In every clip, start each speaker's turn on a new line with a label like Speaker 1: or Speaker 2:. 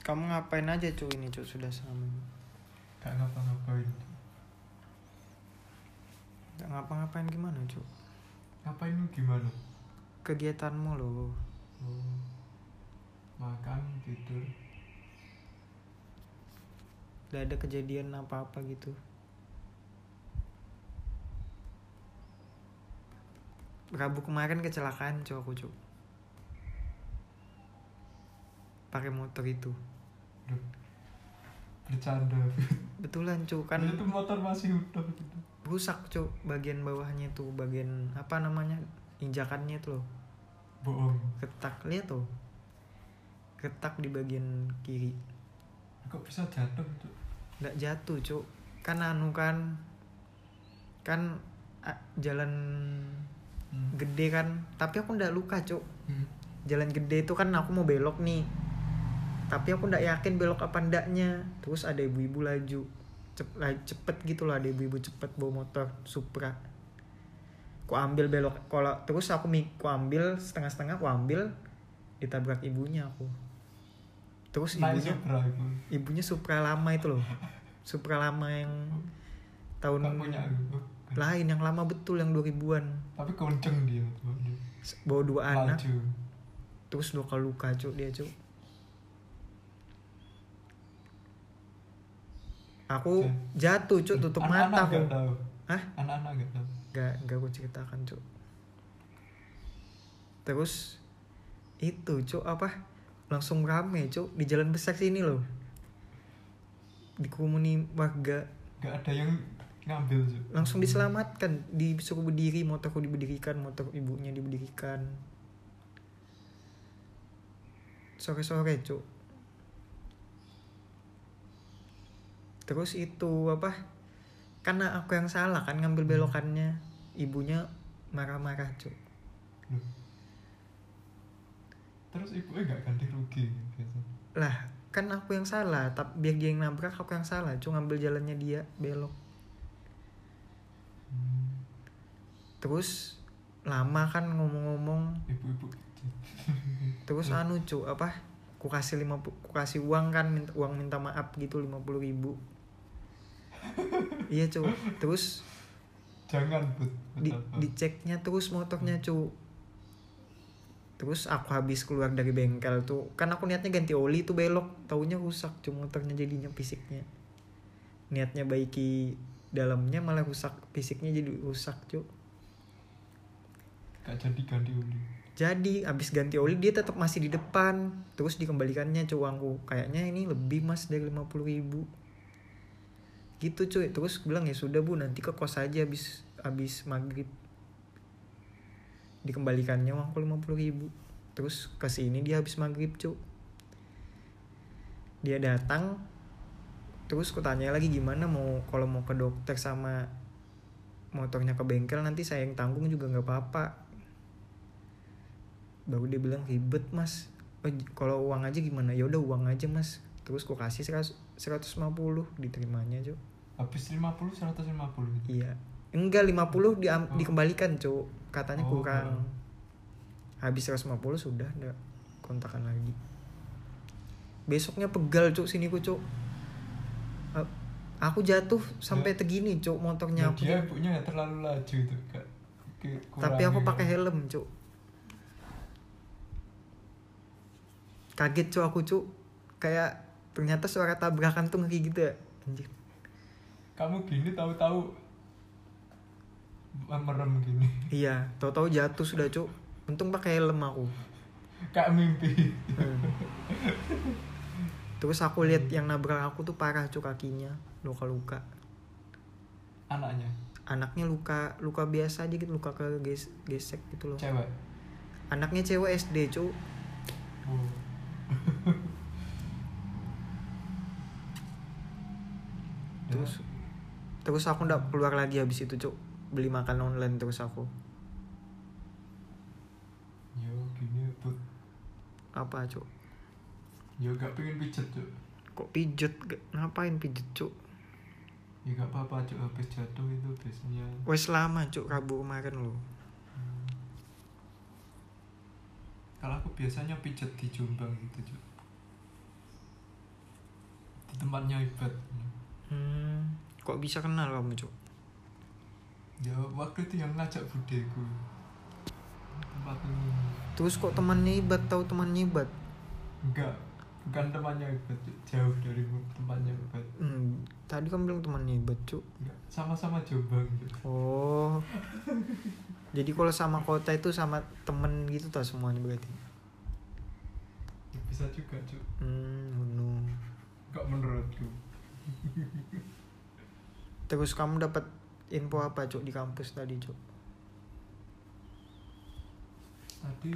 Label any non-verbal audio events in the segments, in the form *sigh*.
Speaker 1: kamu ngapain aja cuy ini cuy sudah sama
Speaker 2: Gak ngapa-ngapain
Speaker 1: nggak ngapa-ngapain gimana cuy
Speaker 2: Ngapain lu gimana?
Speaker 1: kegiatanmu loh
Speaker 2: Oh, Makan, tidur
Speaker 1: gak ada kejadian apa-apa gitu Rabu kemarin kecelakaan cuy aku cuy pakai motor itu
Speaker 2: Duh. Bercanda
Speaker 1: betulan cuy kan
Speaker 2: Itu motor masih utuh gitu
Speaker 1: rusak cuy bagian bawahnya tuh bagian apa namanya injakannya tuh loh
Speaker 2: Bohong
Speaker 1: retak lihat tuh retak di bagian kiri
Speaker 2: Kok bisa jatuh itu?
Speaker 1: nggak jatuh cuk kan anu kan kan a- jalan
Speaker 2: Hmm.
Speaker 1: gede kan tapi aku ndak luka cuk
Speaker 2: Hmm.
Speaker 1: jalan gede itu kan aku mau belok nih tapi aku ndak yakin belok apa ndaknya terus ada ibu-ibu laju Cep- la- cepet gitu loh ada ibu-ibu cepet bawa motor supra ku ambil belok kalau terus aku mi- ku ambil setengah-setengah ku ambil ditabrak ibunya aku terus
Speaker 2: Naik
Speaker 1: ibunya
Speaker 2: Supra itu
Speaker 1: ibunya Supra lama itu loh Supra lama yang tahun
Speaker 2: Gak punya aku
Speaker 1: lain yang lama betul yang 2000-an
Speaker 2: Tapi kenceng dia tuh.
Speaker 1: S- bawa dua anak
Speaker 2: Laju
Speaker 1: terus luka luka cuk dia cuk aku jatuh cuk tutup mata
Speaker 2: Anak-anak
Speaker 1: aku
Speaker 2: gak tahu.
Speaker 1: Hah?
Speaker 2: Anak-anak gak tahu.
Speaker 1: gak gak aku ceritakan cuk terus itu cuk apa langsung rame cuk di jalan besar sini loh dikerumuni warga
Speaker 2: Gak ada yang ngambil Cuk.
Speaker 1: langsung diselamatkan disuruh berdiri motorku diberdirikan motor ibunya diberdirikan sore sore cuk terus itu apa karena aku yang salah kan ngambil belokannya ibunya marah-marah cuk
Speaker 2: Loh. Terus ibunya gak ganti rugi biasanya.
Speaker 1: lah kan aku yang salah tapi biar dia yang nabrak aku yang salah cuk ngambil jalannya dia belok
Speaker 2: Hmm.
Speaker 1: terus lama kan ngomong-ngomong
Speaker 2: Ibu-ibu
Speaker 1: terus anu cu apa ku kasih lima pu- ku kasih uang kan minta, uang minta maaf gitu lima puluh ribu iya cu terus
Speaker 2: Jangan but
Speaker 1: di,
Speaker 2: betapa.
Speaker 1: diceknya terus motornya cu terus aku habis keluar dari bengkel tuh kan aku niatnya ganti oli tuh belok taunya rusak cu motornya jadinya fisiknya niatnya baiki dalamnya malah rusak fisiknya jadi rusak cu
Speaker 2: Gak jadi ganti uli
Speaker 1: jadi abis ganti oli dia tetap masih di depan terus dikembalikannya cuy uangku kayaknya ini lebih mas dari 50.000 ribu gitu cuy terus gue bilang ya sudah bu nanti ke kos aja abis abis maghrib dikembalikannya uangku 50.000 ribu terus ke sini dia habis maghrib cuy dia datang terus kutanya lagi gimana mau kalau mau ke dokter sama motornya ke bengkel nanti saya yang tanggung juga nggak apa-apa baru dia bilang ribet mas Eh, j- kalau uang aja gimana ya udah uang aja mas terus ku kasih 100 150 diterimanya cuk
Speaker 2: Habis 50, 150 gitu
Speaker 1: iya enggak 50 di
Speaker 2: Oh.
Speaker 1: dikembalikan cuk katanya
Speaker 2: Oh,
Speaker 1: kurang habis 150 sudah ndak kontakan lagi besoknya pegal cuk sini ku cuk Eh, aku jatuh sampai tegini cuk motornya
Speaker 2: Ya,
Speaker 1: aku
Speaker 2: dia ibunya gak terlalu laju itu Gak ke-
Speaker 1: tapi aku
Speaker 2: kurangin.
Speaker 1: pakai helm cuk kaget cu aku cu kayak ternyata suara tabrakan tuh ngeri gitu ya anjir
Speaker 2: Kamu gini tahu-tahu merem gini *laughs*
Speaker 1: iya tahu-tahu jatuh sudah cu untung pakai helm aku
Speaker 2: Kayak mimpi *laughs*
Speaker 1: Hmm. terus aku lihat yang nabrak aku tuh parah cu kakinya luka-luka
Speaker 2: Anaknya
Speaker 1: anaknya luka luka biasa aja gitu luka ke ges- gesek gitu loh
Speaker 2: Cewek
Speaker 1: anaknya cewek SD cu
Speaker 2: *laughs* Oh.
Speaker 1: terus terus aku ndak keluar lagi habis itu cu beli makan online terus aku
Speaker 2: Yo gini but
Speaker 1: apa cu
Speaker 2: Yo gak pengen pijet cuk
Speaker 1: kok pijet G- ngapain pijet cuk
Speaker 2: Ya gak apa-apa cuk habis jatuh itu biasanya
Speaker 1: wes lama cuk rabu kemarin lo
Speaker 2: Kalau aku biasanya pijet di Jombang gitu cuk tempatnya ibat
Speaker 1: Hmm, kok bisa kenal kamu cok?
Speaker 2: ya waktu itu yang ngajak budeku tempat ini
Speaker 1: Terus kok temannya ibat tahu temannya ibat?
Speaker 2: enggak bukan temannya ibat Cuk. jauh dari tempatnya ibat
Speaker 1: Hmm, tadi kamu bilang temannya ibat cok.
Speaker 2: enggak sama-sama jombang Cuk.
Speaker 1: Oh, jadi kalau sama kota itu sama temen gitu tak semuanya berarti?
Speaker 2: Ya, bisa juga Cuk.
Speaker 1: Hmm, oh no.
Speaker 2: enggak menurutku
Speaker 1: Terus kamu dapat info apa cok di kampus tadi cok?
Speaker 2: tadi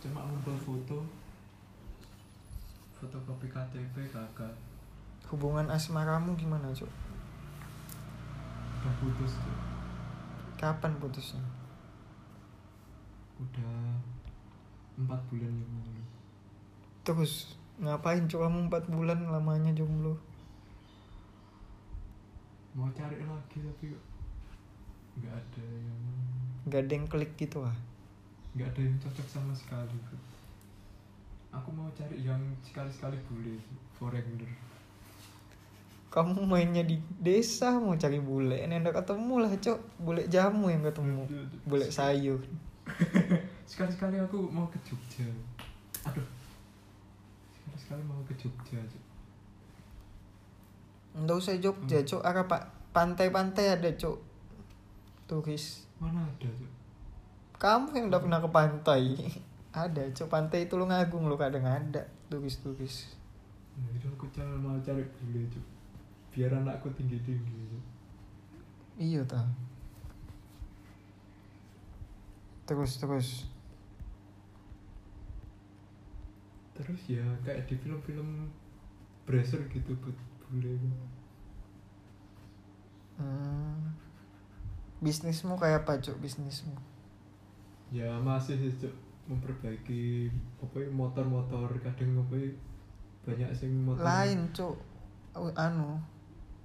Speaker 2: cuma ngumpul foto fotokopi KTP kakak
Speaker 1: Hubungan asmaramu gimana cok?
Speaker 2: udah putus Cuk.
Speaker 1: Kapan putusnya?
Speaker 2: udah empat bulan yang lalu
Speaker 1: Terus ngapain cok kamu 4 bulan lamanya jomblo?
Speaker 2: mau cari lagi tapi kok nggak ada yang
Speaker 1: Gak ada yang klik gitu ah?
Speaker 2: nggak ada yang cocok sama sekali Bu. aku mau cari yang sekali-sekali boleh foreigner
Speaker 1: Kamu mainnya di desa mau cari bule, ini yang ketemu lah cok, bule jamu yang ketemu, bule sayur.
Speaker 2: sekali-sekali aku mau ke Jogja aduh sekali-sekali mau ke Jogja Cuk.
Speaker 1: Nggak usah Jogja,
Speaker 2: Hmm.
Speaker 1: Cok. Arah pak pantai-pantai ada, Cok. Turis.
Speaker 2: mana ada Cuk?
Speaker 1: Kamu yang udah pernah ke pantai. *laughs* ada, Cok. Pantai itu lo ngagung lo kadang ada turis-turis.
Speaker 2: Nah, itu aku cari mau cari bule Cuk. biar anakku tinggi-tinggi Cuk.
Speaker 1: Iya ta. Terus terus.
Speaker 2: terus ya kayak di film-film bracer gitu buat bule
Speaker 1: Hmm. Bisnismu kayak apa, Cok? Bisnismu.
Speaker 2: ya masih sih Cuk. memperbaiki apa ya, motor-motor kadang apa ya, banyak sing motor
Speaker 1: Lain, Cok. Aw- Anu,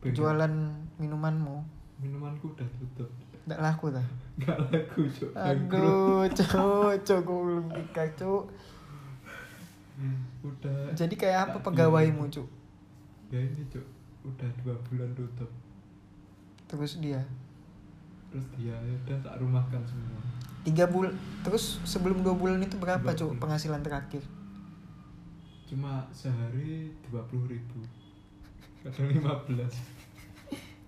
Speaker 2: Bengkel.
Speaker 1: jualan minumanmu.
Speaker 2: minumanku udah tutup
Speaker 1: Nggak laku ta?
Speaker 2: nggak laku cok bangkrut
Speaker 1: Aduh, Cok. Cok, gue belum nikah, Cok.
Speaker 2: Hmm, udah
Speaker 1: Jadi kayak apa
Speaker 2: Tapi-
Speaker 1: pegawaimu, Cuk?
Speaker 2: ya ini cok udah dua bulan tutup
Speaker 1: Terus dia
Speaker 2: terus dia ya udah tak rumahkan semua
Speaker 1: tiga bulan terus sebelum dua bulan itu berapa
Speaker 2: Dua
Speaker 1: cuk
Speaker 2: bulan.
Speaker 1: penghasilan terakhir
Speaker 2: cuma sehari dua puluh ribu kadang lima belas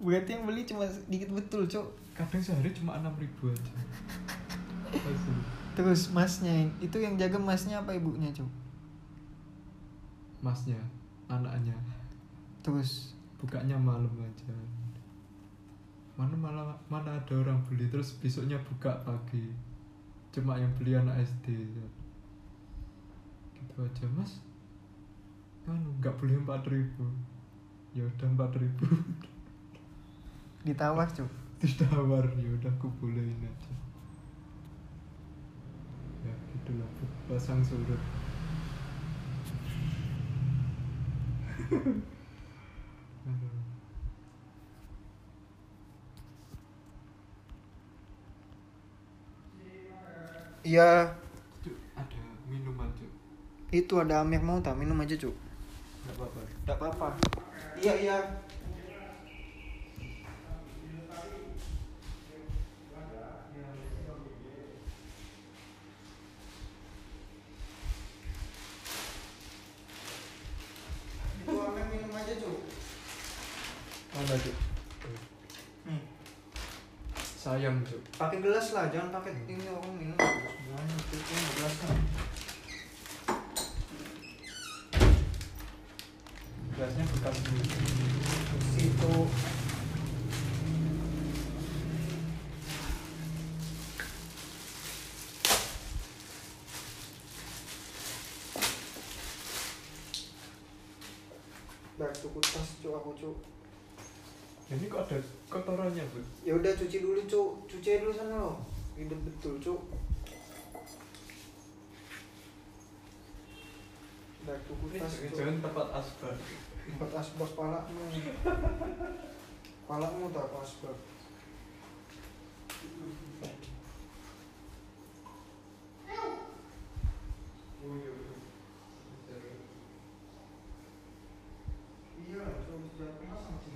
Speaker 1: berarti yang beli cuma sedikit betul cuk
Speaker 2: kadang sehari cuma enam ribu aja Asli.
Speaker 1: terus masnya yang- itu yang jaga masnya apa ibunya cuk
Speaker 2: masnya anaknya
Speaker 1: terus
Speaker 2: bukanya malam aja mana malah mana ada orang beli terus besoknya buka pagi cuma yang beli anak SD gitu aja mas kan nggak boleh empat ribu ya udah empat ribu *laughs*
Speaker 1: ditawar cuk
Speaker 2: ditawar ya udah aku bolehin aja ya gitulah Bu. pasang surut Aduh.
Speaker 1: iya
Speaker 2: Cuk, ada minuman cuk
Speaker 1: itu ada Amir mau tak minum aja cuk
Speaker 2: nggak apa-apa
Speaker 1: Gak apa-apa. Iya, iya. Itu Amel minum aja, Cuk.
Speaker 2: mana cuk
Speaker 1: Nih,
Speaker 2: sayang cuk
Speaker 1: Hmm, pakai gelas lah, jangan pakai ini orang minum. Semuanya itu kan gelas lah.
Speaker 2: gelasnya bekas dulu
Speaker 1: Situ Bar tuku Nah, tas cu aku cu.
Speaker 2: ini kok ada kotorannya bu
Speaker 1: Ya udah cuci dulu cu, cuci aja dulu sana lo. Ribet betul cu. Bar tuku
Speaker 2: ini
Speaker 1: Nah, tas cu.
Speaker 2: jangan tempat asbak
Speaker 1: Empat asbak palakmu. Palakmu tak apa asbak. Iya, Cuk.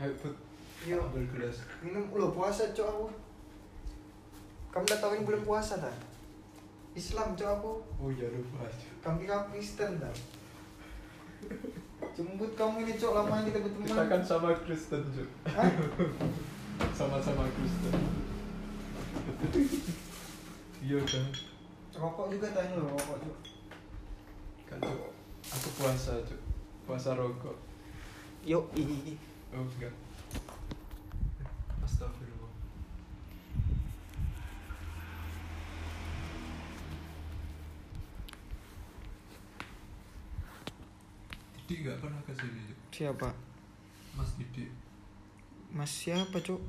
Speaker 2: Ayo put.
Speaker 1: Yuk.
Speaker 2: Ya, Ambil gelas.
Speaker 1: Iya, minum lo puasa cok aku kamu udah tahu ini bulan puasa tak Islam cok aku
Speaker 2: Oh ya lupa aja.
Speaker 1: kamu kira aku Kristen tak jemput kamu ini cok lama kita berteman
Speaker 2: Kita kan sama Kristen juga.
Speaker 1: Hah?
Speaker 2: *laughs* Sama-sama Kristen. *laughs* iya kan.
Speaker 1: rokok juga tanya lo rokok cok
Speaker 2: Kan Cuk. Aku puasa Cuk. Puasa rokok.
Speaker 1: yuk i
Speaker 2: Oh enggak. Astagfirullah. Didi nggak pernah ke sini, Cuk.
Speaker 1: siapa
Speaker 2: Mas Didi,
Speaker 1: mas siapa cok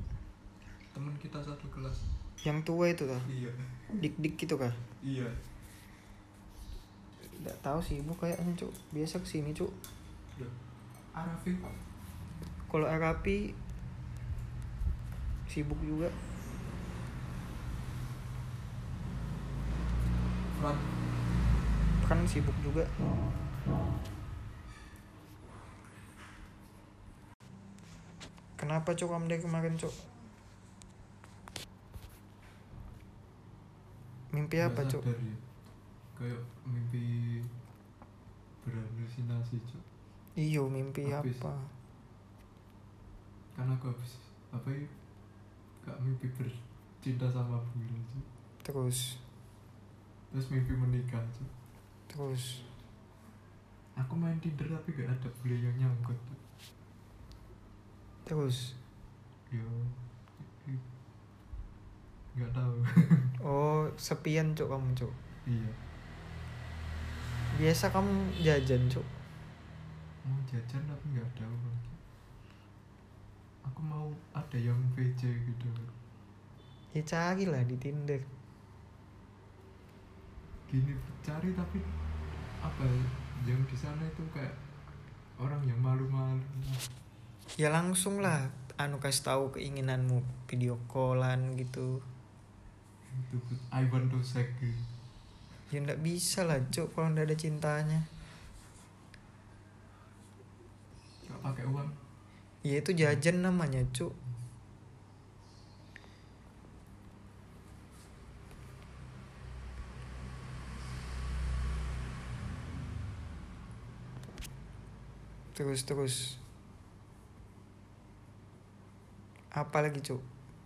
Speaker 2: teman kita satu kelas.
Speaker 1: yang tua itu kah
Speaker 2: Iya,
Speaker 1: dik dik gitu kah
Speaker 2: iya.
Speaker 1: nggak tahu sih ibu kayaknya cok biasa kesini cok
Speaker 2: Loh, Arafin,
Speaker 1: kalau Arapi sibuk juga
Speaker 2: Fran,
Speaker 1: kan sibuk juga kenapa cok kamu dari kemarin cok mimpi apa
Speaker 2: nggak
Speaker 1: cok
Speaker 2: sadar ya. Kayak mimpi berhalusinasi, Cuk.
Speaker 1: iyo mimpi
Speaker 2: Habis.
Speaker 1: apa
Speaker 2: Karena aku habis apa ya? Gak mimpi bercinta sama Bunda, Cuk.
Speaker 1: terus
Speaker 2: Terus mimpi menikah, Cuk.
Speaker 1: terus
Speaker 2: Aku main Tinder tapi gak ada bule yang nyangkut. Cuk.
Speaker 1: terus
Speaker 2: Ya. Gak tahu. *laughs*
Speaker 1: oh sepian cok kamu cok
Speaker 2: iya.
Speaker 1: biasa kamu jajan cok
Speaker 2: Mau jajan tapi gak ada uang. Cuk. Aku mau ada yang VC gitu.
Speaker 1: ya carilah di tinder
Speaker 2: gini cari tapi apa ya, yang di sana itu kayak orang yang malu-malu
Speaker 1: ya langsung lah anu kasih tahu keinginanmu video callan gitu
Speaker 2: itu I want to sex gitu.
Speaker 1: Ya nggak bisa lah cok kalau nggak ada cintanya
Speaker 2: Gak pakai uang
Speaker 1: Ya itu jajan namanya cuk Terus terus Apa lagi cuk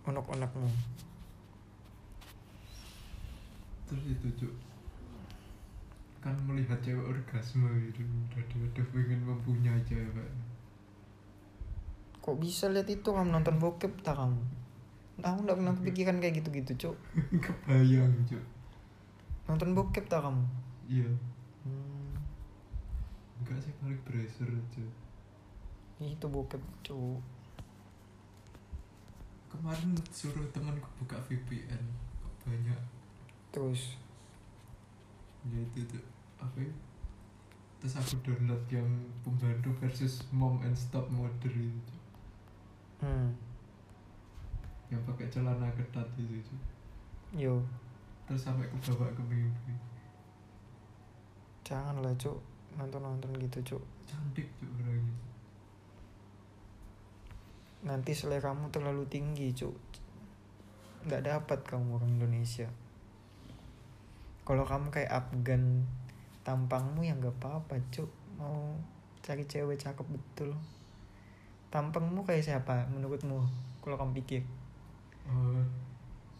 Speaker 1: Unek-unekmu
Speaker 2: terus itu cuk kan melihat cewek orgasme itu udah udah pengen mempunyai cewek *laughs*
Speaker 1: Kok bisa lihat itu kamu nonton bokep tak kamu Aku nggak pernah kepikiran kayak gitu-gitu cuk
Speaker 2: kebayang cuk
Speaker 1: Nonton bokep tak kamu
Speaker 2: iya
Speaker 1: Hmm,
Speaker 2: enggak sih paling bracer aja
Speaker 1: Itu bokep cuk
Speaker 2: kemarin suruh temanku buka VPN banyak
Speaker 1: Terus
Speaker 2: ya itu tuh apa ya terus aku download yang pembantu versus mom and stop mother itu Cuk.
Speaker 1: Hmm,
Speaker 2: yang pakai celana ketat itu Cuk.
Speaker 1: yo,
Speaker 2: terus sampai ke bawah ke mimpi
Speaker 1: janganlah cuk nonton-nonton gitu cuk.
Speaker 2: cantik tuh orangnya
Speaker 1: Nanti selera kamu terlalu tinggi cuk. Nggak dapat kamu orang Indonesia. Kalau kamu kayak Afgan, tampangmu yang nggak apa-apa cuk. Mau cari cewek cakep betul. Tampangmu kayak siapa menurutmu? Kalau kamu pikir,
Speaker 2: Eh,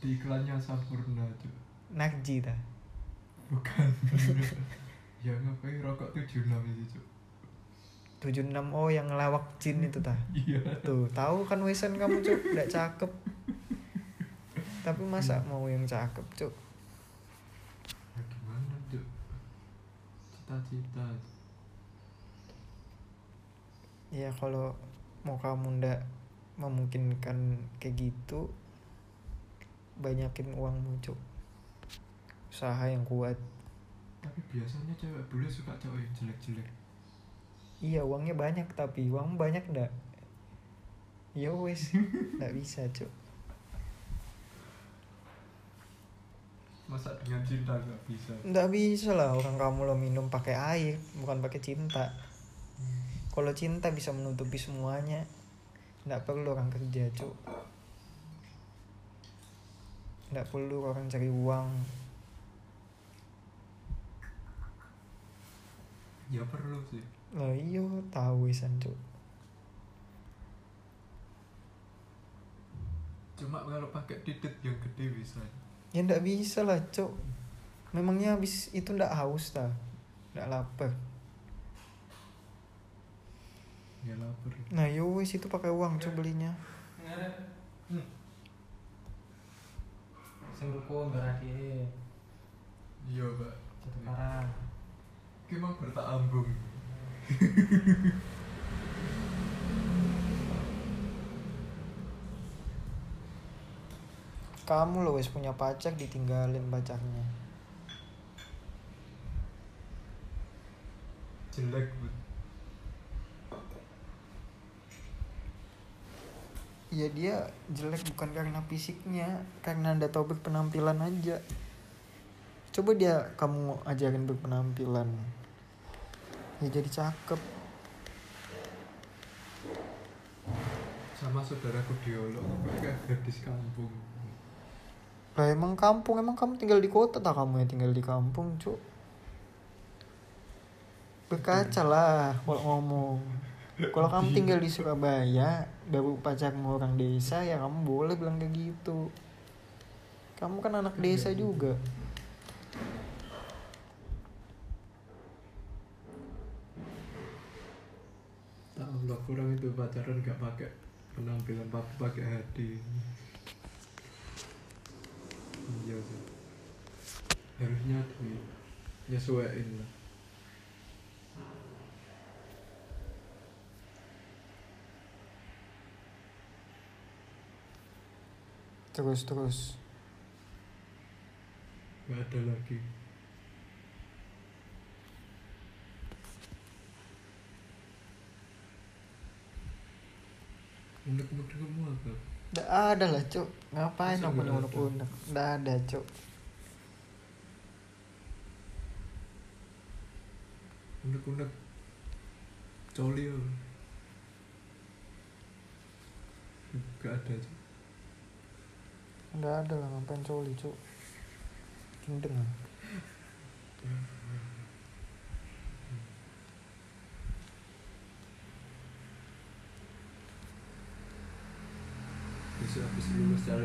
Speaker 2: di iklannya Sampurna tuh
Speaker 1: Narji dah.
Speaker 2: *laughs* bukan ya ngapain rokok 76 itu Cuk.
Speaker 1: 76 oh yang ngelawak jin itu tah.
Speaker 2: iya
Speaker 1: Tuh, tahu kan Wesen kamu, Cuk, enggak cakep. Tapi masa mau yang cakep, Cuk?
Speaker 2: ya gimana tuh cita-cita
Speaker 1: Ya kalau mau kamu ndak memungkinkan kayak gitu banyakin uangmu, Cuk. Usaha yang kuat.
Speaker 2: tapi biasanya cewek bule suka cewek yang jelek-jelek
Speaker 1: Iya, uangnya banyak tapi uang banyak ndak? Ya wes, ndak bisa, Cuk.
Speaker 2: masa dengan cinta nggak bisa
Speaker 1: Nggak bisa lah orang kamu lo minum pakai air, bukan pakai cinta. Kalau cinta bisa menutupi semuanya. nggak perlu orang kerja cuk nggak perlu orang cari uang
Speaker 2: ya perlu sih
Speaker 1: lah iya tahu isan cuk
Speaker 2: cuma kalau pakai titik yang gede bisa
Speaker 1: ya nggak bisa lah cuk memangnya habis itu nggak haus ta nggak lapar
Speaker 2: ya lapar
Speaker 1: nah yo wis itu pakai uang cuk belinya
Speaker 3: sing ruko nggak adike
Speaker 2: iya pak
Speaker 3: tukaran
Speaker 2: kita mau bertaambung
Speaker 1: kamu loh wis punya pacar ditinggalin pacarnya
Speaker 2: jelek bu
Speaker 1: ya dia jelek bukan karena fisiknya karena anda tahu berpenampilan aja coba dia kamu ajarin berpenampilan ya jadi cakep
Speaker 2: sama saudaraku diolok mereka gadis kampung
Speaker 1: lah emang kampung emang kamu tinggal di kota tak kamu yang tinggal di kampung cuk berkaca lah kalau ngomong kalau kamu tinggal di Surabaya baru pacarmu orang desa ya kamu boleh bilang kayak gitu kamu kan anak desa juga
Speaker 2: tak Allah kurang itu pacaran gak pakai penampilan tapi pakai hati iya sih harusnya di nyesuaiin lah
Speaker 1: terus terus
Speaker 2: gak ada lagi unek-unekmu apa?
Speaker 1: Nggak ada lah cuk Ngapain
Speaker 2: Masa
Speaker 1: aku
Speaker 2: nggak ada?
Speaker 1: unek-unek Nggak ada cuk
Speaker 2: unek-unek coli ya. apa? gak ada aja
Speaker 1: Nggak ada lah ngapain coli cuk Gendeng
Speaker 2: besok habis lulus cari